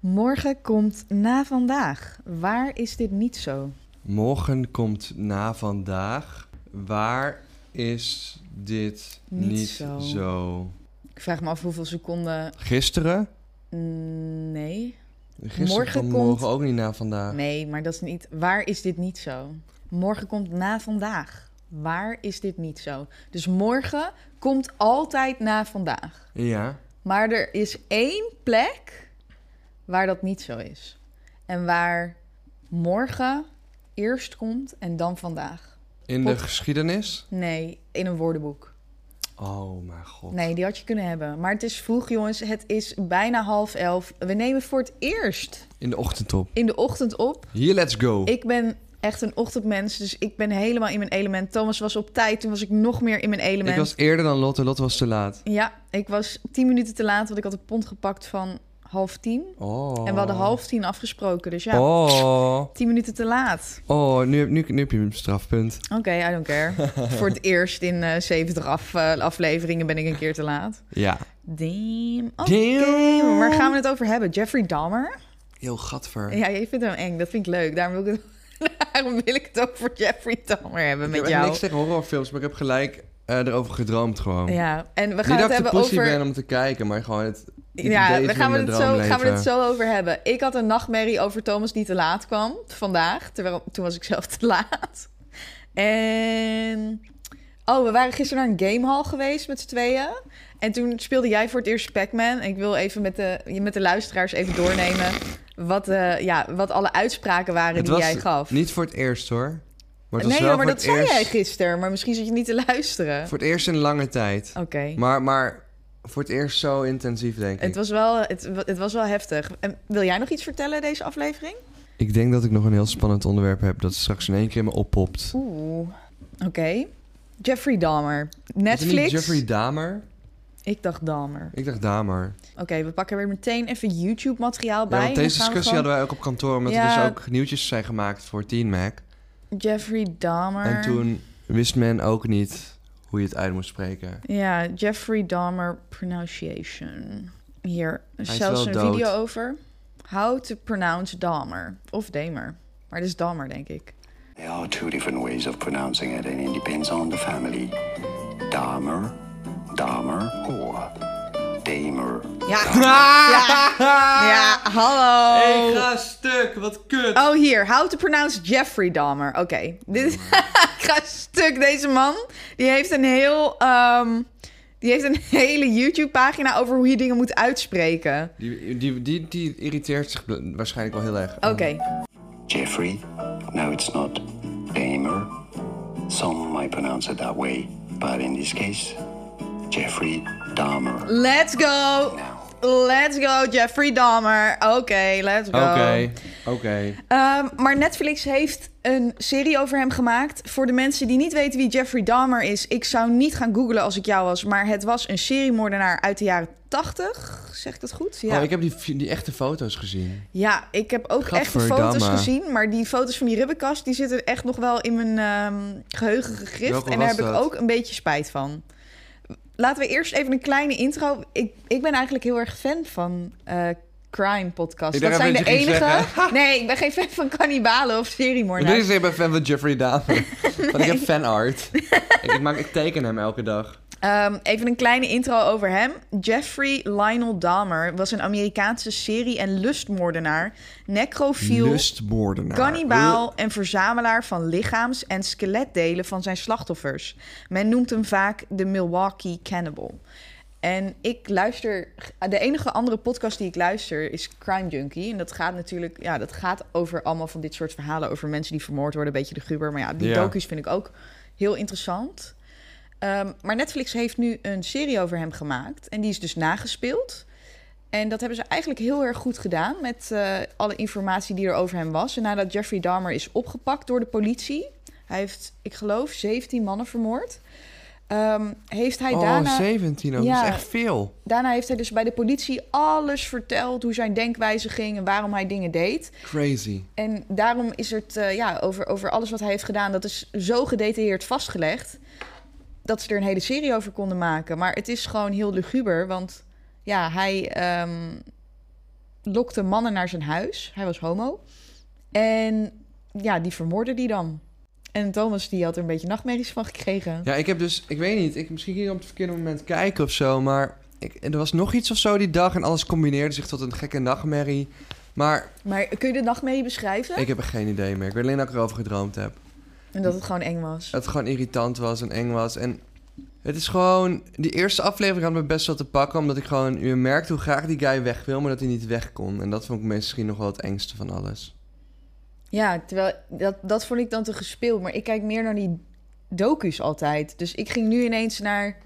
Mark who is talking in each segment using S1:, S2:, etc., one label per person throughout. S1: Morgen komt na vandaag. Waar is dit niet zo?
S2: Morgen komt na vandaag. Waar is dit
S1: Niet
S2: niet,
S1: zo.
S2: zo.
S1: Ik vraag me af hoeveel seconden.
S2: Gisteren?
S1: Mm, Nee.
S2: Gisteren
S1: Morgen
S2: kwam
S1: komt-
S2: morgen ook niet na vandaag.
S1: Nee, maar dat is niet. Waar is dit niet zo? Morgen komt na vandaag. Waar is dit niet zo? Dus morgen komt altijd na vandaag.
S2: Ja.
S1: Maar er is één plek waar dat niet zo is. En waar morgen eerst komt en dan vandaag.
S2: In de
S1: Pot-
S2: geschiedenis?
S1: Nee, in een woordenboek.
S2: Oh mijn god.
S1: Nee, die had je kunnen hebben. Maar het is vroeg, jongens. Het is bijna half elf. We nemen voor het eerst
S2: In de ochtendtop.
S1: in de ochtend op.
S2: Hier, let's go.
S1: Ik ben echt een ochtendmens, dus ik ben helemaal in mijn element. Thomas was op tijd, toen was ik nog meer in mijn element.
S2: Ik was eerder dan Lotte. Lotte was te laat.
S1: Ja, ik was tien minuten te laat, want ik had een pond gepakt van half tien.
S2: Oh.
S1: En we hadden half tien afgesproken, dus ja,
S2: Oh.
S1: tien minuten te laat.
S2: Oh, nu, heb- nu, nu heb je een strafpunt.
S1: Oké, I don't care. voor het eerst in eh 70 af, eh, afleveringen ben ik een keer te laat.
S2: Ja.
S1: Damn. Oké,
S2: Damn.
S1: waar gaan we het over hebben? Jeffrey Dahmer?
S2: Heel gatver.
S1: Ja, je vindt hem eng. Dat vind ik leuk. Daarom wil ik het, daarom wil ik het over Jeffrey Dahmer hebben
S2: ik
S1: met
S2: heb echt
S1: jou.
S2: niks tegen horrorfilms, maar ik heb gelijk eh, erover gedroomd gewoon.
S1: Ja, en we gaan het
S2: Niet dat ik de
S1: hebben
S2: pussy
S1: over...
S2: ben om te kijken, maar gewoon het... het
S1: Ja,
S2: idee
S1: we
S2: van
S1: gaan, we
S2: mijn
S1: het zo, gaan we
S2: droomleven.
S1: het zo over hebben. Ik had een nachtmerrie over Thomas die te laat kwam vandaag. Terwijl, toen was ik zelf te laat. En... Oh, we waren gisteren naar een gamehall geweest met z'n tweeën. En toen speelde jij voor het eerst Pac-Man. En ik wil even met de, je met de luisteraars even doornemen... Wat, eh, ja, wat alle uitspraken waren
S2: Het
S1: die
S2: was
S1: jij gaf.
S2: Niet voor het eerst hoor. Maar het was
S1: nee, joh,
S2: wel
S1: maar dat
S2: voor het
S1: zei
S2: eerst,
S1: jij gisteren. Maar misschien zit je niet te luisteren.
S2: Voor het eerst in lange tijd.
S1: Oké.
S2: Maar, maar voor het eerst zo intensief, denk ik.
S1: Het was, wel, het, wa- het was wel heftig. En wil jij nog iets vertellen deze aflevering?
S2: Ik denk dat ik nog een heel spannend onderwerp heb dat straks in één keer me oppopt.
S1: Oeh. Oké. Jeffrey Dahmer.
S2: Is het niet
S1: Netflix.
S2: Jeffrey Dahmer?
S1: Ik dacht Dahmer.
S2: Ik dacht Dahmer.
S1: Oké, we pakken weer meteen even YouTube-materiaal bij.
S2: Ja, want
S1: Dan
S2: deze
S1: gaan we
S2: discussie
S1: gewoon-
S2: hadden wij ook op kantoor, omdat
S1: Ja.
S2: er dus ook nieuwtjes zijn gemaakt voor Teen Mac.
S1: Jeffrey Dahmer.
S2: En toen wist men ook niet hoe je het uit moest spreken.
S1: Ja, Jeffrey Dahmer pronunciation. Hier,
S2: is
S1: zelfs een
S2: wel dood.
S1: video over. How to pronounce Dahmer. Of Damer. Maar het is Dahmer, denk ik.
S3: There are two different ways of pronouncing it, and it depends on the family. Dahmer, Dahmer, or Damer.
S1: Ja. Ja. ja, hallo.
S2: ga stuk, wat kut.
S1: Oh, hier. How to pronounce Jeffrey Dahmer. Oké. Dit is... Ik ga stuk. Deze man, die heeft een heel... ehm, die heeft een hele YouTube-pagina over hoe je dingen moet uitspreken.
S2: Die, die, die, die irriteert zich waarschijnlijk wel heel erg.
S1: Oké.
S3: Jeffrey? No, it's not Damer. Some might pronounce it that way, but in this case, Jeffrey Dahmer.
S1: Let's go. Let's go, Jeffrey Dahmer. Oké, let's go.
S2: Oké, oké.
S1: Ehm, maar Netflix heeft een serie over hem gemaakt. Voor de mensen die niet weten wie Jeffrey Dahmer is, ik zou niet gaan googlen als ik jou was. Maar het was een seriemoordenaar uit de jaren 80. Zeg ik dat goed? Ja,
S2: Oh, ik heb die, fi- die echte foto's gezien.
S1: ja, ik heb ook echt de
S2: Gadverdamme.
S1: foto's gezien. Maar die foto's van die ribbenkast die zitten echt nog wel in mijn ehm, geheugen gegrift.
S2: Welke
S1: en daar
S2: was
S1: heb ik
S2: dat?
S1: ook een beetje spijt van. Laten we eerst even een kleine intro. Ik, ik ben eigenlijk heel erg fan van eh, crime podcasts.
S2: Ik
S1: Dat
S2: dacht
S1: zijn de
S2: even dat je ging
S1: enige. Nee, ik ben geen fan van kannibalen of seriemoordenaars.
S2: Dit is ik ben fan van Jeffrey Dahmer. Want ik heb fanart. ik, ik maak, ik teken hem elke dag.
S1: Ehm, even een kleine intro over hem. Jeffrey Lionel Dahmer was een Amerikaanse serie- en lustmoordenaar, necrofiel,
S2: Lustmoordenaar.
S1: kannibaal en verzamelaar van lichaams- en skeletdelen van zijn slachtoffers. Men noemt hem vaak de Milwaukee Cannibal. En ik luister, de enige andere podcast die ik luister is Crime Junkie. En dat gaat natuurlijk, ja, dat gaat over allemaal van dit soort verhalen over mensen die vermoord worden, een beetje de gruber. Maar ja, die
S2: Ja.
S1: docu's vind ik ook heel interessant. Ehm, maar Netflix heeft nu een serie over hem gemaakt. En die is dus nagespeeld. En dat hebben ze eigenlijk heel erg goed gedaan met eh, alle informatie die er over hem was. En nadat Jeffrey Dahmer is opgepakt door de politie, hij heeft, ik geloof, 17 mannen vermoord. ehm, heeft hij
S2: oh,
S1: daarna...
S2: 17 ook.
S1: Ja.
S2: Dat is echt veel.
S1: Daarna heeft hij dus bij de politie alles verteld hoe zijn denkwijze ging en waarom hij dingen deed.
S2: Crazy.
S1: En daarom is het eh, ja, over, over alles wat hij heeft gedaan, dat is zo gedetailleerd vastgelegd dat ze er een hele serie over konden maken. Maar het is gewoon heel luguber, want ja, hij ehm, lokte mannen naar zijn huis. Hij was homo. En ja, die vermoorden die dan. En Thomas die had er een beetje nachtmerries van gekregen.
S2: Ja, ik heb dus, ik weet niet, ik, misschien ging ik op het verkeerde moment kijken of zo, maar ik, er was nog iets of zo die dag en alles combineerde zich tot een gekke nachtmerrie. Maar
S1: Maar kun je de nachtmerrie beschrijven?
S2: ik heb er geen idee meer. Ik weet alleen dat ik erover gedroomd heb.
S1: En dat het gewoon eng was.
S2: Dat het gewoon irritant was en eng was. En het is gewoon... Die eerste aflevering had me best wel te pakken. Omdat ik gewoon... Je merkt hoe graag die guy weg wil, maar dat hij niet weg kon. En dat vond ik misschien nog wel het engste van alles.
S1: Ja, terwijl dat, dat vond ik dan te gespeeld. Maar ik kijk meer naar die docu's altijd. Dus ik ging nu ineens naar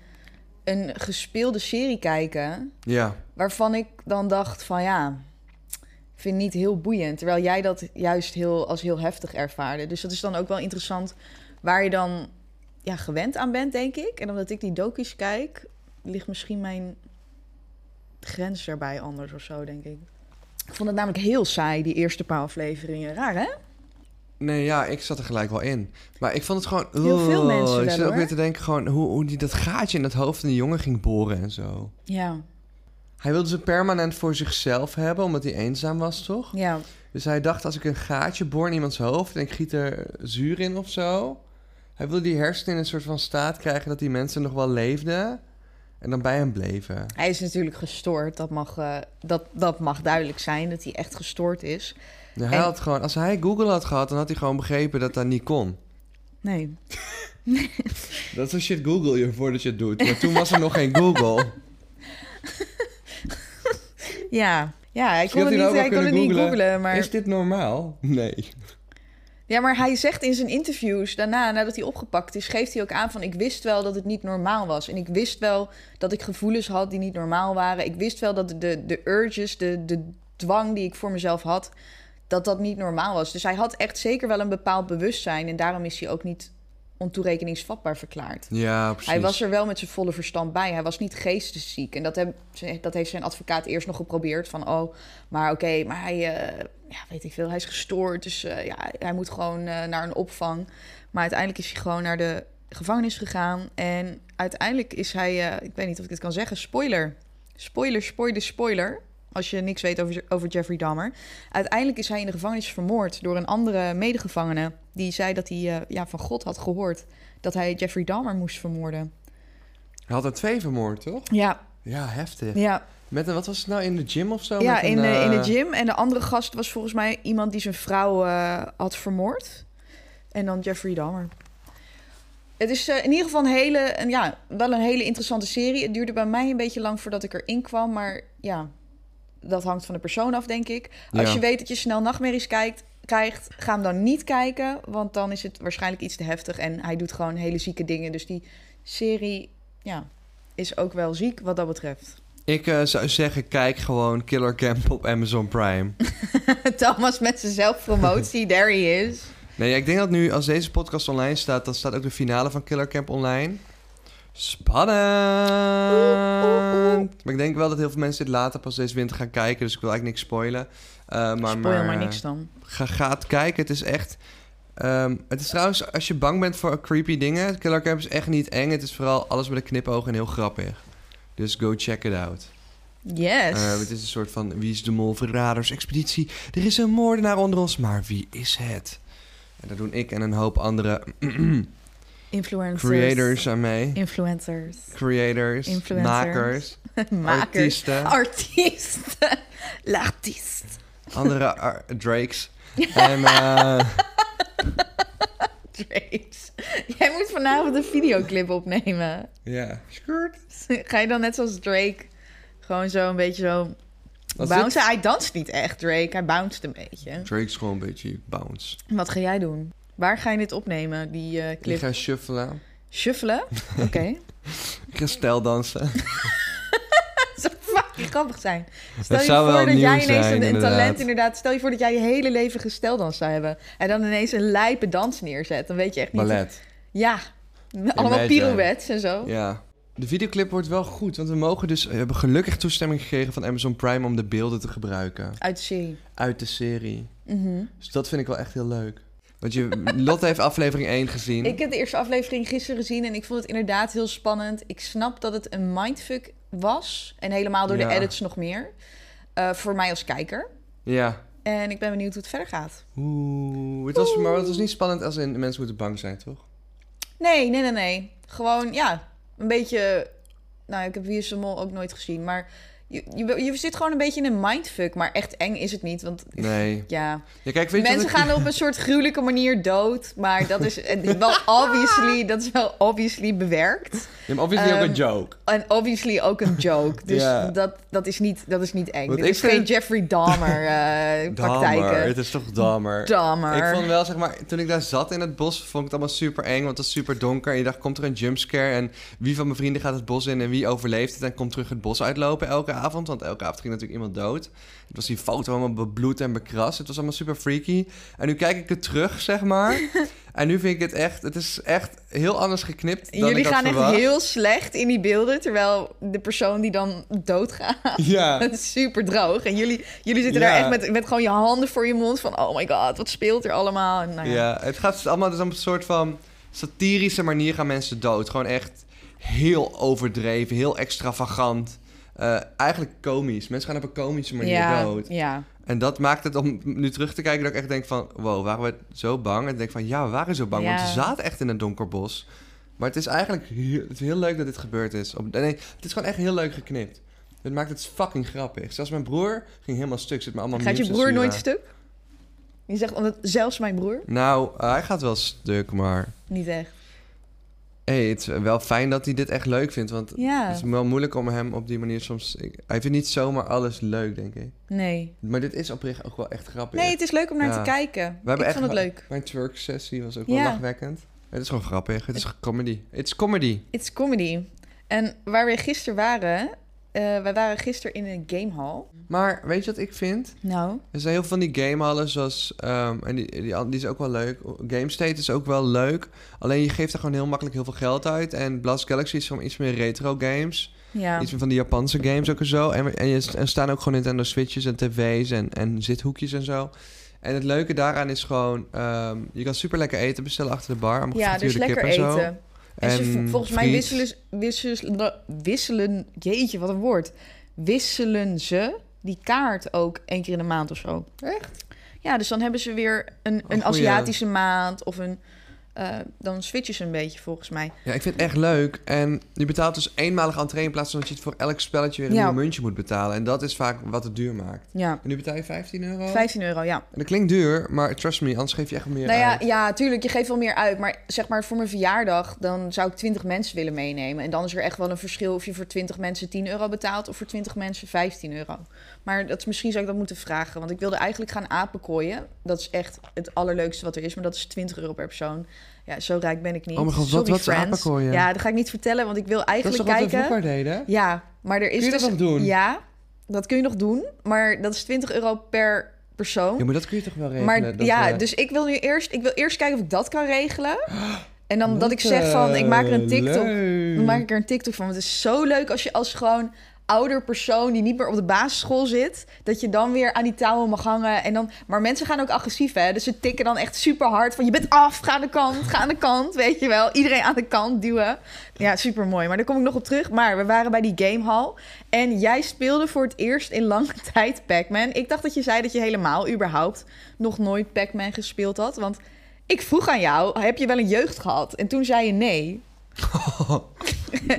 S1: een gespeelde serie kijken.
S2: Ja.
S1: Waarvan ik dan dacht van ja, ik vind het niet heel boeiend. Terwijl jij dat juist heel, als heel heftig ervaarde. Dus dat is dan ook wel interessant waar je dan ja, gewend aan bent, denk ik. En omdat ik die docu's kijk, ligt misschien mijn grens daarbij anders of zo, denk ik. Ik vond het namelijk heel saai, die eerste paar afleveringen. Raar, hè?
S2: Nee, ja, ik zat er gelijk wel in. Maar ik vond het gewoon...
S1: Heel veel
S2: oh,
S1: mensen
S2: Ik
S1: wel,
S2: zit ook
S1: hoor.
S2: weer te denken gewoon hoe, hoe die dat gaatje in het hoofd van die jongen ging boren en zo.
S1: Ja,
S2: Hij wilde ze permanent voor zichzelf hebben, omdat hij eenzaam was, toch?
S1: ja.
S2: Dus hij dacht, als ik een gaatje boor in iemands hoofd en ik giet er zuur in of zo. Hij wilde die hersenen in een soort van staat krijgen dat die mensen nog wel leefden en dan bij hem bleven.
S1: Hij is natuurlijk gestoord. Dat mag, eh, dat, dat mag duidelijk zijn dat hij echt gestoord is.
S2: Ja, Dus hij
S1: En-
S2: had gewoon, als hij Google had gehad, dan had hij gewoon begrepen dat dat niet kon.
S1: Nee.
S2: Dat is een shit Google je voordat je het doet. Maar toen was er nog geen Google.
S1: Ja. Ja, hij kon het
S2: nou
S1: niet, hij kon het niet googlen. Maar...
S2: Is dit normaal? Nee.
S1: Ja, maar hij zegt in zijn interviews daarna, nadat hij opgepakt is, geeft hij ook aan van ik wist wel dat het niet normaal was. En ik wist wel dat ik gevoelens had die niet normaal waren. Ik wist wel dat de, de urges, de, de dwang die ik voor mezelf had, dat dat niet normaal was. Dus hij had echt zeker wel een bepaald bewustzijn en daarom is hij ook niet ontoerekeningsvatbaar verklaard.
S2: Ja, precies.
S1: Hij was er wel met zijn volle verstand bij. Hij was niet geestesziek. En dat, heb, dat heeft zijn advocaat eerst nog geprobeerd. Van, oh, maar oké, maar hij, eh, ja, weet ik veel, hij is gestoord. Dus eh, ja, hij moet gewoon eh, naar een opvang. Maar uiteindelijk is hij gewoon naar de gevangenis gegaan. En uiteindelijk is hij, eh, ik weet niet of ik dit kan zeggen, spoiler. Spoiler, spoiler, spoiler. Als je niks weet over, over Jeffrey Dahmer. Uiteindelijk is hij in de gevangenis vermoord door een andere medegevangene. Die zei dat hij eh, ja, van God had gehoord dat hij Jeffrey Dahmer moest vermoorden.
S2: Hij had er twee vermoord, toch?
S1: Ja,
S2: Ja, heftig.
S1: ja.
S2: Met een, wat was het nou, in de gym of zo?
S1: ja
S2: Met een,
S1: in, de, in
S2: eh,
S1: de gym. En de andere gast was volgens mij iemand die zijn vrouw eh, had vermoord. En dan Jeffrey Dahmer. Het is eh, in ieder geval een hele, een, ja, wel een hele interessante serie. Het duurde bij mij een beetje lang voordat ik erin kwam. Maar ja, dat hangt van de persoon af, denk ik. Als
S2: Ja.
S1: je weet dat je snel nachtmerries kijkt, krijgt, ga hem dan niet kijken. Want dan is het waarschijnlijk iets te heftig. En hij doet gewoon hele zieke dingen. Dus die serie ja, is ook wel ziek wat dat betreft.
S2: Ik eh, zou zeggen, kijk gewoon Killer Camp op Amazon Prime.
S1: Thomas met zijn zelfpromotie, there he is.
S2: Nee, ik denk dat nu als deze podcast online staat, dan staat ook de finale van Killer Camp online. Spannend! Maar ik denk wel dat heel veel mensen dit later pas deze winter gaan kijken, dus ik wil eigenlijk niks spoilen. Eh, maar,
S1: Spoil maar, niks dan.
S2: Ga, ga het kijken, het is echt... ehm, het is trouwens, als je bang bent voor creepy dingen, Killer Camp is echt niet eng. Het is vooral alles met een knipoog en heel grappig. Dus go check it out.
S1: Yes.
S2: Eh, het is een soort van wie is de mol verraders expeditie. Er is een moordenaar onder ons, maar wie is het? En daar doen ik en een hoop andere
S1: Influencers.
S2: creators aan mee.
S1: Influencers.
S2: Creators,
S1: Influencers.
S2: makers,
S1: Makers.
S2: artiesten,
S1: Artiesten. L'artiest.
S2: andere ar- Drakes. En eh,
S1: Drapes. Jij moet vanavond een videoclip opnemen.
S2: ja, skirt.
S1: Ga je dan net zoals Drake gewoon zo een beetje zo...
S2: Wat is
S1: bouncen? Hij danst niet echt, Drake. Hij bounced een beetje.
S2: Drake is gewoon een beetje bounce.
S1: Wat ga jij doen? Waar ga je dit opnemen, die eh,
S2: Ik
S1: clip?
S2: ga shuffelen.
S1: Shuffelen? Oké.
S2: Ik ga stijl dansen.
S1: Zo fuck. grappig zijn. Stel je
S2: zou wel
S1: voor dat
S2: nieuw
S1: jij ineens
S2: zijn,
S1: een, een
S2: inderdaad.
S1: talent inderdaad... Stel je voor dat jij je hele leven gesteldans zou hebben. En dan ineens een lijpe dans neerzet. Dan weet je echt niet...
S2: Ballet.
S1: Ja, allemaal
S2: weet, eh,
S1: pirouettes en zo.
S2: Ja. De videoclip wordt wel goed, want we mogen dus we hebben gelukkig toestemming gekregen van Amazon Prime om de beelden te gebruiken
S1: Uit de serie.
S2: uit de serie.
S1: Mhm.
S2: Dus dat vind ik wel echt heel leuk. Want je, Lotte heeft aflevering 1 gezien.
S1: Ik heb de eerste aflevering gisteren gezien en ik vond het inderdaad heel spannend. Ik snap dat het een mindfuck was. En helemaal door
S2: Ja.
S1: de edits nog meer. Eh, voor mij als kijker.
S2: Ja.
S1: En ik ben benieuwd hoe het verder gaat.
S2: Oeh, het was, maar het was niet spannend als in mensen moeten bang zijn, toch?
S1: Nee, nee, nee, nee. Gewoon, ja, een beetje... Nou, ik heb Wie is de Mol ook nooit gezien. Maar je, je, je zit gewoon een beetje in een mindfuck. Maar echt eng is het niet, want...
S2: Nee.
S1: Ja,
S2: Ja, kijk, weet je
S1: mensen
S2: wat ik-
S1: gaan op een soort gruwelijke manier dood, maar dat is eh, wel obviously, dat is wel obviously bewerkt.
S2: Ja, maar obviously ook
S1: Ehm,
S2: een joke.
S1: En obviously ook een joke. Dus
S2: Ja.
S1: dat, dat, is niet, dat is niet eng.
S2: Want
S1: Dit
S2: ik
S1: is geen
S2: vind-
S1: Jeffrey Dahmer eh
S2: Dammer,
S1: praktijken.
S2: het is toch dammer.
S1: Dahmer.
S2: Ik vond wel, zeg maar, toen ik daar zat in het bos, vond ik het allemaal super eng, want het was super donker. En je dacht, komt er een jumpscare? En wie van mijn vrienden gaat het bos in en wie overleeft het en komt terug het bos uitlopen elke avond? Want elke avond ging natuurlijk iemand dood. Het was die foto allemaal bebloed en bekrast. Het was allemaal super freaky. En nu kijk ik het terug, zeg maar. en nu vind ik het echt, het is echt heel anders geknipt dan
S1: Jullie
S2: ik had
S1: gaan echt
S2: verwacht.
S1: heel slecht in die beelden, terwijl de persoon die dan doodgaat,
S2: Ja.
S1: het is super droog. En jullie, jullie zitten
S2: Ja.
S1: daar echt met, met gewoon je handen voor je mond van, oh my god, wat speelt er allemaal? En Nou ja.
S2: Ja, het gaat allemaal dus op een soort van satirische manier gaan mensen dood. Gewoon echt heel overdreven, heel extravagant. Eh, eigenlijk komisch. Mensen gaan op een komische manier
S1: ja,
S2: dood.
S1: ja.
S2: En dat maakt het om nu terug te kijken dat ik echt denk van... Wow, waren we zo bang? En ik denk van ja, we waren zo bang.
S1: Ja.
S2: Want we zaten echt in een donker bos. Maar het is eigenlijk heel, het is heel leuk dat dit gebeurd is. Op- nee, het is gewoon echt heel leuk geknipt. Het maakt het fucking grappig. Zelfs mijn broer ging helemaal stuk. Zit me allemaal
S1: Gaat je
S2: memes te
S1: broer
S2: sturen.
S1: nooit stuk? Je zegt, omdat zelfs mijn broer?
S2: Nou, hij gaat wel stuk, maar...
S1: Niet echt.
S2: Hey, het is wel fijn dat hij dit echt leuk vindt, want
S1: Ja,
S2: het is wel moeilijk om hem op die manier soms... ik- hij vindt niet zomaar alles leuk, denk ik.
S1: nee.
S2: Maar dit is oprecht ook wel echt grappig.
S1: Nee, het is leuk om naar
S2: Ja.
S1: te kijken.
S2: We hebben
S1: ik
S2: echt
S1: vond het
S2: wel-
S1: leuk.
S2: Mijn twerk-sessie was ook wel
S1: Ja.
S2: lachwekkend. Het is gewoon grappig, het is comedy. Het is comedy.
S1: It's comedy. En waar we gisteren waren... eh, wij waren gisteren in een gamehall.
S2: Maar weet je wat ik vind?
S1: Nou.
S2: Er zijn heel veel van die gamehallen zoals... ehm, en die, die, die is ook wel leuk. GameState is ook wel leuk. Alleen je geeft er gewoon heel makkelijk heel veel geld uit. En Blast Galaxy is gewoon iets meer retro games.
S1: Ja.
S2: Iets van die Japanse games ook en zo. En, we- en je- er staan ook gewoon Nintendo Switches en tv's en, en zithoekjes en zo. En het leuke daaraan is gewoon... ehm, je kan super lekker eten bestellen achter de bar. Allemaal
S1: Ja, dus
S2: gefrituurde
S1: lekker
S2: kip en zo.
S1: eten. En, ze, vo- volgens mij
S2: friet.
S1: wisselen, ze- wisselen, wisselen... Jeetje, wat een woord. Wisselen ze die kaart ook één keer in de maand of zo. Echt? Ja, dus dan hebben ze weer een, een
S2: goeie.
S1: Aziatische maand of een... eh, dan switchen ze een beetje volgens mij.
S2: Ja, ik vind het echt leuk. En je betaalt dus eenmalig entree in plaats van dat je het voor elk spelletje weer een
S1: Ja.
S2: nieuw muntje moet betalen. En dat is vaak wat het duur maakt.
S1: Ja,
S2: En nu betaal je 15 euro.
S1: 15 euro, ja.
S2: En dat klinkt duur, maar trust me, anders geef je echt meer
S1: Nou ja,
S2: uit.
S1: ja, tuurlijk, je geeft wel meer uit. Maar zeg maar, voor mijn verjaardag, dan zou ik 20 mensen willen meenemen. En dan is er echt wel een verschil of je voor 20 mensen 10 euro betaalt... of voor 20 mensen 15 euro. Maar dat is, misschien zou ik dat moeten vragen. Want ik wilde eigenlijk gaan apenkooien. Dat is echt het allerleukste wat er is. Maar dat is 20 euro per persoon. Ja, zo rijk ben ik niet.
S2: Oh mijn god, wat-
S1: Sorry,
S2: wat is
S1: friends.
S2: apenkooien?
S1: Ja, dat ga ik niet vertellen, want ik wil
S2: dat is toch
S1: eigenlijk
S2: wat we
S1: kijken...
S2: vroeger deden?
S1: Ja, maar er is
S2: je dat
S1: dus...
S2: nog doen?
S1: Ja, dat kun je nog doen. Maar dat is 20 euro per persoon.
S2: Ja, maar dat kun je toch wel regelen?
S1: Maar
S2: dat,
S1: ja,
S2: eh,
S1: dus ik wil nu eerst, ik wil eerst kijken of ik dat kan regelen. En dan dat ik zeg
S2: Lotte,
S1: van, ik maak er een TikTok.
S2: leuk.
S1: Dan maak ik er een TikTok van. Want het is zo leuk als je als gewoon ouder persoon die niet meer op de basisschool zit, dat je dan weer aan die touwen mag hangen. En dan, maar mensen gaan ook agressief, hè? Dus ze tikken dan echt super hard van, je bent af, ga aan de kant, ga aan de kant, weet je wel? Iedereen aan de kant duwen. Ja, super mooi. Maar daar kom ik nog op terug. Maar we waren bij die gamehall en jij speelde voor het eerst in lange tijd Pac-Man. Ik dacht dat je zei dat je helemaal, überhaupt, nog nooit Pac-Man gespeeld had, want ik vroeg aan jou, heb je wel een jeugd gehad? En toen zei je nee.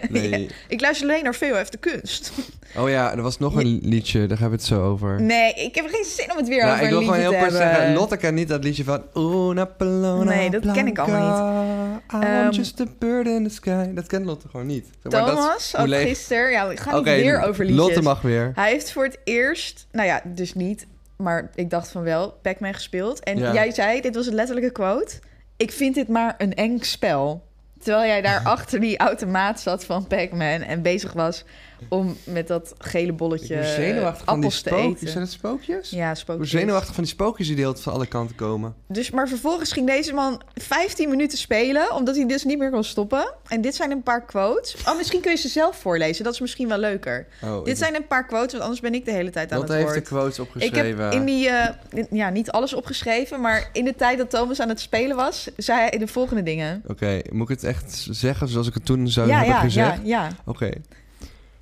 S2: Nee.
S1: Ik luister alleen naar veel heeft de kunst.
S2: Oh ja, er was nog een liedje, daar hebben we het zo over.
S1: Nee, ik heb geen zin om het weer
S2: Nou,
S1: over
S2: ik
S1: een
S2: wil
S1: liedje
S2: gewoon heel
S1: te
S2: kort
S1: hebben.
S2: zeggen, Lotte kan niet dat liedje van Una Pelona
S1: Nee, dat ken ik allemaal
S2: niet. I'm
S1: Ehm,
S2: just a bird in the sky. Dat kent Lotte gewoon niet. Zeg maar, dat is
S1: Thomas, Oh,
S2: hoe
S1: ook
S2: leeg-
S1: gisteren. Ja, ik ga
S2: Oké,
S1: niet weer over liedjes.
S2: Lotte mag weer.
S1: Hij heeft voor het eerst, nou ja, dus niet, maar ik dacht van wel, Pac-Man gespeeld. En
S2: Ja.
S1: jij zei, dit was een letterlijke quote, ik vind dit maar een eng spel. Terwijl jij daar achter die automaat zat van Pac-Man en bezig was om met dat gele
S2: Ik
S1: bolletje
S2: word zenuwachtig van die
S1: appels te
S2: spookjes. Zijn
S1: eten.
S2: het spookjes?
S1: Ja,
S2: Ik word
S1: spookjes.
S2: zenuwachtig van die spookjes die de hele tijd van alle kanten komen.
S1: Dus, maar vervolgens ging deze man 15 minuten spelen, omdat hij dus niet meer kon stoppen. En dit zijn een paar quotes. Oh, misschien kun je ze zelf voorlezen. Dat is misschien wel leuker.
S2: Oh, ik-
S1: dit zijn een paar quotes, want anders ben ik de hele tijd aan
S2: dat
S1: het
S2: heeft de
S1: woord.
S2: quotes
S1: ik
S2: opgeschreven.
S1: heb in die, eh, in- ja, niet alles opgeschreven, maar in de tijd dat Thomas aan het spelen was, zei hij de volgende dingen.
S2: Oké, moet ik het echt zeggen zoals ik het toen zou
S1: ja,
S2: hebben
S1: ja,
S2: gezegd?
S1: ja, ja.
S2: Oké.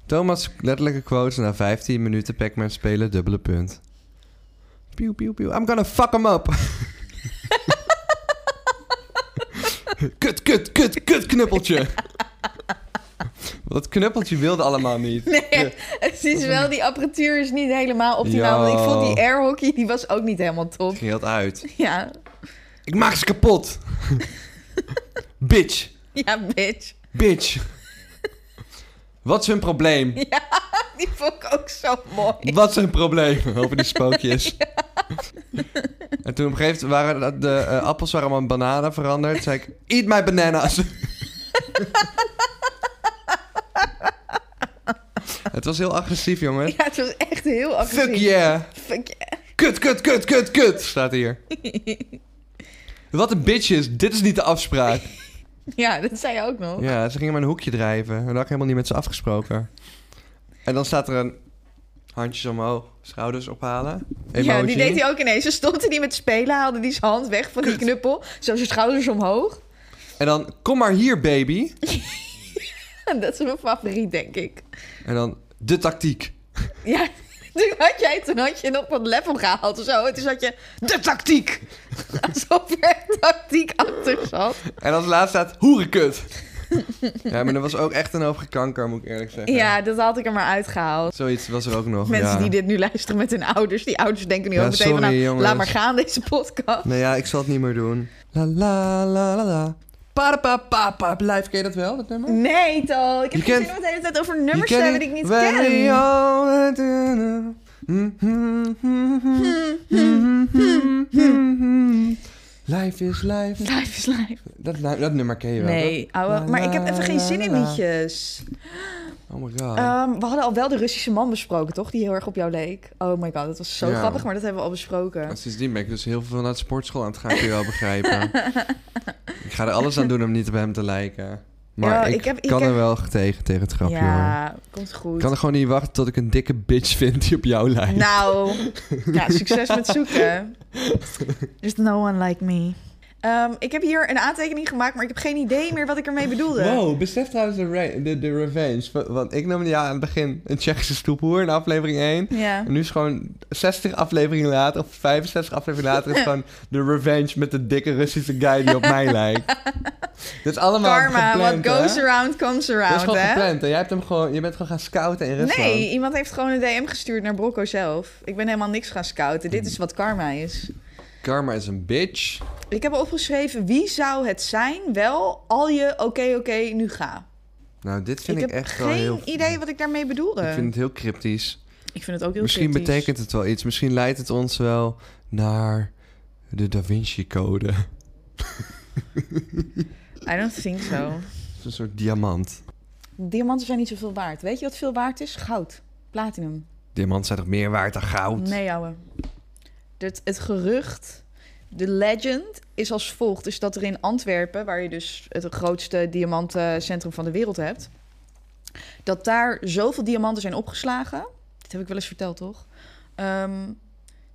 S2: Thomas, letterlijke quotes na 15 minuten Pac-Man spelen, dubbele punt. Piu, piu, piu. I'm gonna fuck him up. kut, kut, kut, kut knuppeltje. Dat knuppeltje wilde allemaal niet.
S1: Nee, het is wel, die apparatuur is niet helemaal optimaal. want Ik
S2: Yo.
S1: vond die air hockey, die was ook niet helemaal top.
S2: Ging heel uit.
S1: Ja,
S2: Ik maak ze kapot. bitch,
S1: ja, bitch.
S2: bitch. Wat is hun probleem?
S1: Die vond ik ook zo mooi.
S2: Wat zijn problemen over die spookjes? En toen op een gegeven moment waren dat de eh, appels waren allemaal in bananen veranderd. zei ik, eat my bananas. Het was heel agressief, jongen.
S1: Ja, het was echt heel agressief.
S2: Fuck yeah.
S1: Fuck yeah.
S2: Kut, kut, kut, kut, kut, staat hier. Wat een bitch is. Dit is niet de afspraak.
S1: Ja, dat zei je ook nog.
S2: Ja, ze gingen maar een hoekje drijven. En dat had ik helemaal niet met ze afgesproken. En dan staat er een handjes omhoog, schouders ophalen.
S1: Ja,
S2: Emoji.
S1: die deed hij ook ineens. Ze stond er niet met spelen, haalde die zijn hand weg van die knuppel. Zo zijn schouders omhoog.
S2: En dan, kom maar hier, baby.
S1: Dat is mijn favoriet, denk ik.
S2: En dan, de tactiek.
S1: Ja, toen had jij toen had je nog wat level gehaald of zo. En toen zat je, de tactiek! Alsof er tactiek achter zat.
S2: En als laatste staat, hoerenkut. ja, maar er was ook echt een hoop gekanker, moet ik eerlijk zeggen.
S1: Ja, dat had ik er maar uitgehaald.
S2: Zoiets was er ook nog,
S1: Mensen
S2: ja.
S1: die dit nu luisteren met hun ouders, die ouders denken nu
S2: Ja,
S1: ook meteen van,
S2: sorry,
S1: nou,
S2: jongens.
S1: laat maar gaan deze podcast.
S2: Nou ja, ik zal het niet meer doen. La la la la la. Pa pa pa pa. Blijf, ken je dat wel, dat nummer?
S1: Nee, Tal. Ik heb
S2: Je
S1: geen
S2: kent-
S1: zin om het de hele tijd over
S2: Je
S1: nummers te
S2: kent
S1: hebben die ik niet
S2: When
S1: ken.
S2: we all do- Hmm, hmm, hmm, hmm, hmm, hmm, hmm, hmm. Life is life.
S1: Life is life.
S2: Dat, dat nummer ken je wel,
S1: Nee,
S2: toch?
S1: ouwe.
S2: La,
S1: Maar ik heb
S2: la,
S1: even geen
S2: la,
S1: zin in
S2: la.
S1: liedjes.
S2: Oh my god.
S1: Ehm, we hadden al wel de Russische man besproken, toch? Die heel erg op jou leek. Oh my god, dat was zo
S2: Ja.
S1: grappig, maar dat hebben we al besproken.
S2: Maar sindsdien ben ik dus heel veel naar de sportschool aan het gaan, kun je wel begrijpen. ik ga er alles aan doen om niet op hem te lijken. Maar
S1: Ja,
S2: ik,
S1: ik heb- ik
S2: kan
S1: heb-
S2: er wel tegen, tegen het grapje, hoor.
S1: ja, komt goed.
S2: Ik kan er gewoon niet wachten tot ik een dikke bitch vind die op jou lijkt.
S1: Nou, ja, succes met zoeken. There's no one like me. Ehm, ik heb hier een aantekening gemaakt, maar ik heb geen idee meer wat ik ermee bedoelde.
S2: Wow, besef trouwens de, re- de, de revenge. Wa- Want ik nam ja aan het begin een Tsjechische stoephoer in aflevering 1.
S1: Ja.
S2: En nu is gewoon 60 afleveringen later, of 65 afleveringen later, is gewoon de revenge met de dikke Russische guy die op mij lijkt. Dit is allemaal
S1: Karma,
S2: gepland,
S1: what goes
S2: hè?
S1: around comes
S2: Dat is
S1: around,
S2: gewoon
S1: hè?
S2: gepland. En jij hebt hem gewoon, je bent gewoon gaan scouten in Rusland.
S1: Nee, iemand heeft gewoon een DM gestuurd naar Brocco zelf. Ik ben helemaal niks gaan scouten.
S2: Mm.
S1: Dit is wat karma is.
S2: Karma is een bitch.
S1: Ik heb opgeschreven, wie zou het zijn? Wel, al je oké, oké, nu ga.
S2: Nou, dit vind ik,
S1: heb
S2: echt wel
S1: geen
S2: heel...
S1: idee wat ik daarmee bedoelde.
S2: Ik vind het heel cryptisch.
S1: het ook heel
S2: Misschien
S1: kritisch.
S2: betekent het wel iets. Misschien leidt het ons wel naar de Da Vinci Code. Het
S1: I don't think so.
S2: is een soort diamant.
S1: Diamanten zijn niet zoveel waard. Weet je wat veel waard is? Goud. Platinum.
S2: Diamant zijn toch meer waard dan goud?
S1: Nee, ouwe. Het, het gerucht, de legend, is als volgt. Is dat er in Antwerpen, waar je dus het grootste diamantencentrum van de wereld hebt... dat daar zoveel diamanten zijn opgeslagen. Dit heb ik wel eens verteld, toch? Ehm,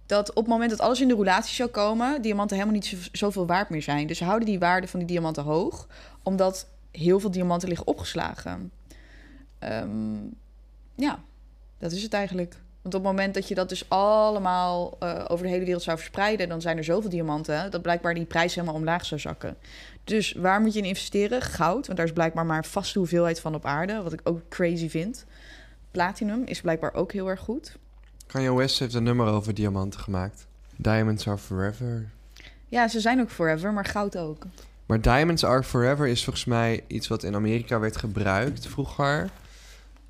S1: dat op het moment dat alles in de roulatie zou komen... diamanten helemaal niet zo- zoveel waard meer zijn. Dus ze houden die waarde van die diamanten hoog... omdat heel veel diamanten liggen opgeslagen. Ehm, ja, dat is het eigenlijk. Want op het moment dat je dat dus allemaal eh, over de hele wereld zou verspreiden, dan zijn er zoveel diamanten dat blijkbaar die prijs helemaal omlaag zou zakken. Dus waar moet je in investeren? Goud, want daar is blijkbaar maar een vaste hoeveelheid van op aarde, wat ik ook crazy vind. Platinum is blijkbaar ook heel erg goed.
S2: Kanye West heeft een nummer over diamanten gemaakt. Diamonds are forever.
S1: Ja, ze zijn ook forever, maar goud ook.
S2: Maar Diamonds Are Forever is volgens mij iets wat in Amerika werd gebruikt vroeger.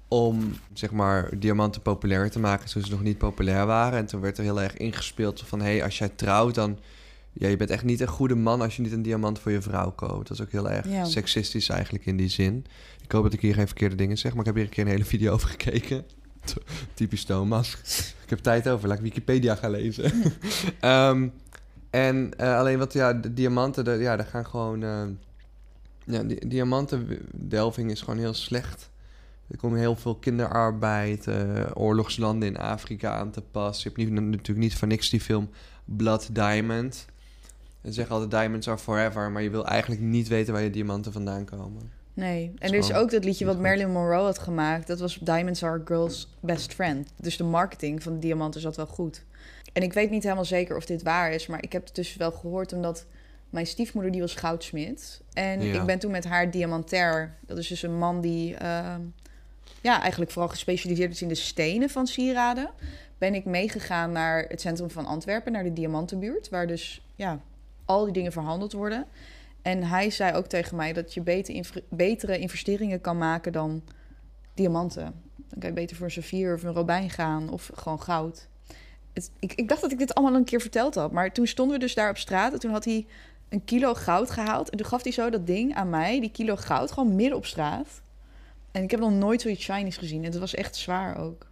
S2: Om zeg maar diamanten populair te maken toen ze nog niet populair waren. En toen werd er heel erg ingespeeld van hé, hey, als jij trouwt, dan Ja, je bent echt niet een goede man als je niet een diamant voor je vrouw koopt. Dat is ook heel erg
S1: Ja.
S2: seksistisch eigenlijk in die zin. Ik hoop dat ik hier geen verkeerde dingen zeg, maar ik heb hier een keer een hele video over gekeken. Typisch Thomas. Ik heb tijd over, laat ik Wikipedia gaan lezen. Ehm, en eh, alleen wat, ja, de diamanten, de- ja, daar gaan gewoon... eh, ja, di- diamantendelving is gewoon heel slecht. Er komt heel veel kinderarbeid, eh, oorlogslanden in Afrika aan te pas. Je hebt niet, natuurlijk niet voor niks die film Blood Diamond. Ze zeggen altijd diamonds are forever, maar je wil eigenlijk niet weten waar je diamanten vandaan komen.
S1: Nee. En
S2: is
S1: er is
S2: gewoon
S1: ook dat liedje wat
S2: niet goed.
S1: Marilyn Monroe had gemaakt. Dat was Diamonds Are a Girl's Best Friend. Dus de marketing van de diamanten zat wel goed. En ik weet niet helemaal zeker of dit waar is, maar ik heb het dus wel gehoord omdat mijn stiefmoeder die was goudsmid. En
S2: Ja.
S1: ik ben toen met haar diamantair. Dat is dus een man die ehm, ja, eigenlijk vooral gespecialiseerd is in de stenen van sieraden. Ben ik meegegaan naar het centrum van Antwerpen, naar de diamantenbuurt, waar dus ja, al die dingen verhandeld worden. En hij zei ook tegen mij dat je beter inv- betere investeringen kan maken dan diamanten. Dan kan je beter voor een saffier of een robijn gaan of gewoon goud. Het, ik, ik dacht dat ik dit allemaal een keer verteld had, maar toen stonden we dus daar op straat en toen had hij een kilo goud gehaald. En toen gaf hij zo dat ding aan mij, die kilo goud, gewoon midden op straat. En ik heb nog nooit zoiets shinies gezien en het was echt zwaar ook.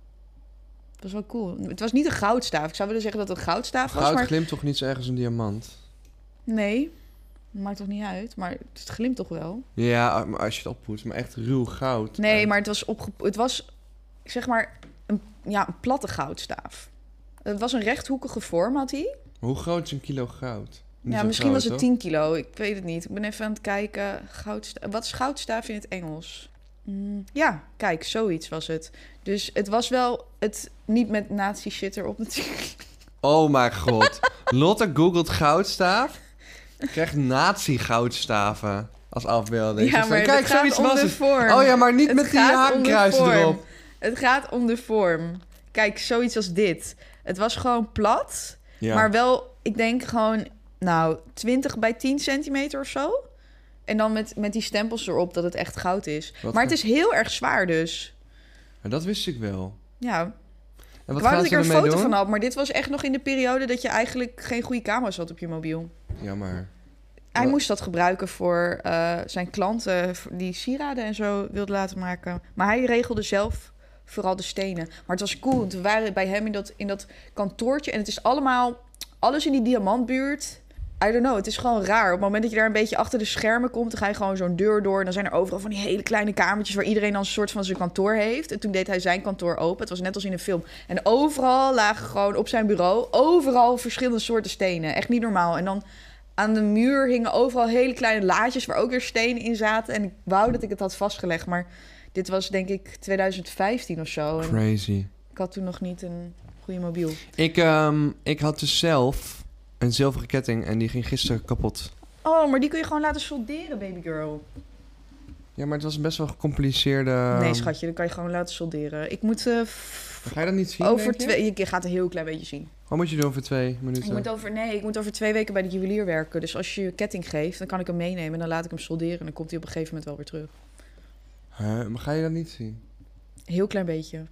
S1: Het was wel cool. Het was niet een goudstaaf. Ik zou willen zeggen dat het een goudstaaf was,
S2: Goud
S1: maar
S2: glimt toch niet zo erg als een diamant?
S1: Nee, maakt toch niet uit. Maar het glimt toch wel.
S2: Ja, maar als je het oppoetst, maar echt ruw goud.
S1: Nee, maar het was opge... Het was, zeg maar, een, ja, een platte goudstaaf. Het was een rechthoekige vorm, had hij.
S2: Hoe groot is een kilo goud? Niet
S1: Ja,
S2: zo
S1: misschien
S2: groot,
S1: was het
S2: hoor.
S1: 10 kilo. Ik weet het niet. Ik ben even aan het kijken. Goudsta Wat is goudstaaf in het Engels? Mm, ja, kijk, zoiets was het. Dus het was wel het niet met nazi-shit erop natuurlijk.
S2: Oh mijn god. Lotte googelt goudstaaf. Krijgt nazi-goudstaven als afbeelding.
S1: Ja,
S2: Ze
S1: maar
S2: staan,
S1: het
S2: Kijk,
S1: gaat
S2: zoiets
S1: om
S2: was
S1: de
S2: het.
S1: vorm.
S2: Oh ja, maar niet met die
S1: gaat om de
S2: haakkruis
S1: vorm.
S2: erop.
S1: Het gaat om de vorm. Kijk, zoiets als dit. Het was gewoon plat,
S2: Ja.
S1: maar wel, ik denk gewoon, nou, 20 bij 10 centimeter of zo. En dan met, met die stempels erop dat het echt goud is.
S2: Wat
S1: maar het
S2: voor-
S1: is heel erg zwaar dus.
S2: Maar dat wist ik wel.
S1: Ja,
S2: En
S1: ik
S2: wat
S1: wou
S2: gaan
S1: dat ik
S2: ze
S1: er een
S2: ermee
S1: foto
S2: doen?
S1: van had, maar dit was echt nog in de periode dat je eigenlijk geen goede camera's had op je mobiel.
S2: Jammer.
S1: Hij
S2: Wat-
S1: moest dat gebruiken voor eh, zijn klanten voor- die sieraden en zo wilden laten maken. Maar hij regelde zelf vooral de stenen. Maar het was cool, want we waren bij hem in dat, in dat kantoortje. En het is allemaal, alles in die diamantbuurt. I don't know, het is gewoon raar. Op het moment dat je daar een beetje achter de schermen komt... dan ga je gewoon zo'n deur door. En dan zijn er overal van die hele kleine kamertjes... waar iedereen dan een soort van zijn kantoor heeft. En toen deed hij zijn kantoor open. Het was net als in een film. En overal lagen gewoon op zijn bureau... overal verschillende soorten stenen. Echt niet normaal. En dan aan de muur hingen overal hele kleine laadjes waar ook weer stenen in zaten. En ik wou dat ik het had vastgelegd, maar dit was denk ik 2015 of zo. En
S2: Crazy.
S1: ik had toen nog niet een goede mobiel.
S2: Ik, ehm, ik had dus zelf een zilveren ketting en die ging gisteren kapot.
S1: Oh, maar die kun je gewoon laten solderen, babygirl.
S2: Ja, maar het was een best wel gecompliceerde... ehm,
S1: nee, schatje, dat kan je gewoon laten solderen. Ik moet eh, f-
S2: Ga je dat niet zien,
S1: over
S2: denk je?
S1: twee... Je gaat een heel klein beetje zien.
S2: Wat moet je doen voor twee
S1: Ik
S2: minuten?
S1: moet over, nee, ik moet over twee weken bij de juwelier werken. Dus als je je ketting geeft, dan kan ik hem meenemen. En dan laat ik hem solderen. En dan komt hij op een gegeven moment wel weer terug.
S2: Huh, maar ga je dat niet zien?
S1: Heel klein beetje.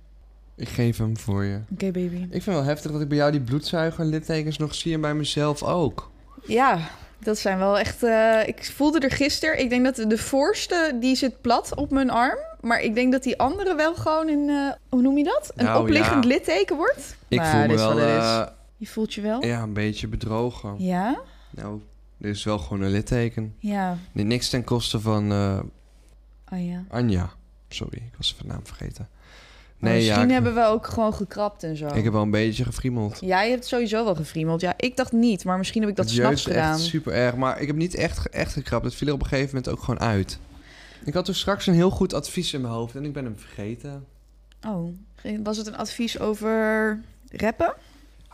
S2: Ik geef hem voor je.
S1: Oké, baby.
S2: Ik vind wel heftig dat ik bij jou die bloedzuiger en littekens nog zie en bij mezelf ook.
S1: Ja, dat zijn wel echt. eh, ik voelde er gisteren. Ik denk dat de voorste die zit plat op mijn arm. Maar ik denk dat die andere wel gewoon een. eh, hoe noem je dat? Een
S2: Nou,
S1: opliggend
S2: ja.
S1: litteken wordt.
S2: Ik
S1: Maar
S2: voel me
S1: dit is
S2: wel
S1: wat het is.
S2: eh,
S1: Je voelt je wel? Ja?
S2: ja, een beetje bedrogen.
S1: Ja.
S2: Nou, dit is wel gewoon een litteken. Nee, niks ten koste van eh,
S1: Oh ja.
S2: Anja. Sorry, ik was haar naam vergeten.
S1: Maar
S2: Nee, ja,
S1: Oh, misschien
S2: ik,
S1: hebben we ook gewoon gekrapt en zo.
S2: ik heb wel een beetje gefriemeld.
S1: Jij hebt sowieso wel gefriemeld. Ja, ik dacht niet, maar misschien heb ik dat
S2: Het
S1: s'nachts
S2: jeukte
S1: gedaan.
S2: echt super erg. Maar ik heb niet echt, ge- echt gekrapt. Het viel er op een gegeven moment ook gewoon uit. Ik had toen straks een heel goed advies in mijn hoofd en ik ben hem vergeten.
S1: Oh, was het een advies over rappen?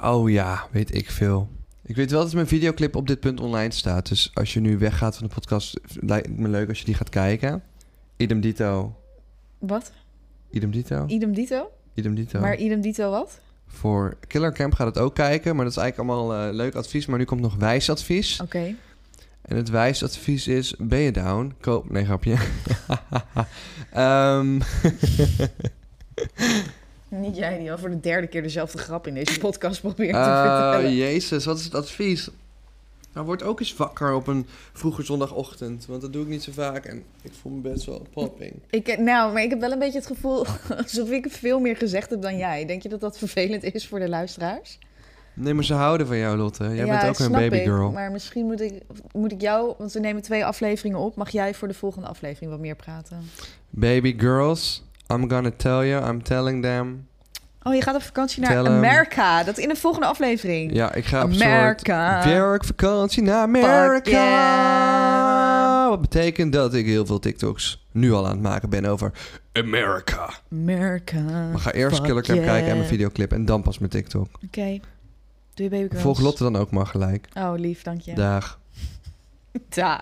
S2: Oh ja, weet ik veel. Ik weet wel dat mijn videoclip op dit punt online staat. Dus als je nu weggaat van de podcast, lijkt het me leuk als je die gaat kijken. Idem dito.
S1: Wat?
S2: Idem dito.
S1: Idem dito?
S2: Idem dito.
S1: Maar idem dito wat?
S2: Voor Killer Camp gaat het ook kijken. Maar dat is eigenlijk allemaal eh, leuk advies. Maar nu komt nog wijs advies.
S1: Oké.
S2: En het wijs advies is, ben je down? Koop... Nee, grapje. Ehm,
S1: Niet jij die al voor de derde keer dezelfde grap in deze podcast probeert te
S2: eh,
S1: vertellen.
S2: jezus, wat is het advies? Nou, word ook eens wakker op een vroege zondagochtend. Want dat doe ik niet zo vaak en ik voel me best wel popping.
S1: Ik, nou, maar ik heb wel een beetje het gevoel alsof ik veel meer gezegd heb dan jij. Denk je dat dat vervelend is voor de luisteraars?
S2: Nee, maar ze houden van jou, Lotte. Jij
S1: ja,
S2: bent ook een
S1: snap
S2: babygirl.
S1: Ik, maar misschien moet ik, moet ik jou, want we nemen twee afleveringen op. Mag jij voor de volgende aflevering wat meer praten?
S2: Baby girls, I'm gonna tell you, I'm telling them.
S1: Oh, je gaat op vakantie naar
S2: Tell 'em.
S1: Amerika. Dat in de volgende aflevering.
S2: Ja, ik ga op
S1: Amerika.
S2: soort werkvakantie naar
S1: Fuck
S2: Amerika.
S1: yeah.
S2: Wat betekent dat ik heel veel TikToks nu al aan het maken ben over Amerika.
S1: Amerika.
S2: Maar ga eerst
S1: Fuck
S2: Killer Cam
S1: yeah.
S2: kijken en mijn videoclip en dan pas mijn TikTok.
S1: Oké. Doe je baby
S2: Volg Lotte dan ook maar gelijk.
S1: Oh, lief, dank je.
S2: Daag.
S1: Dag.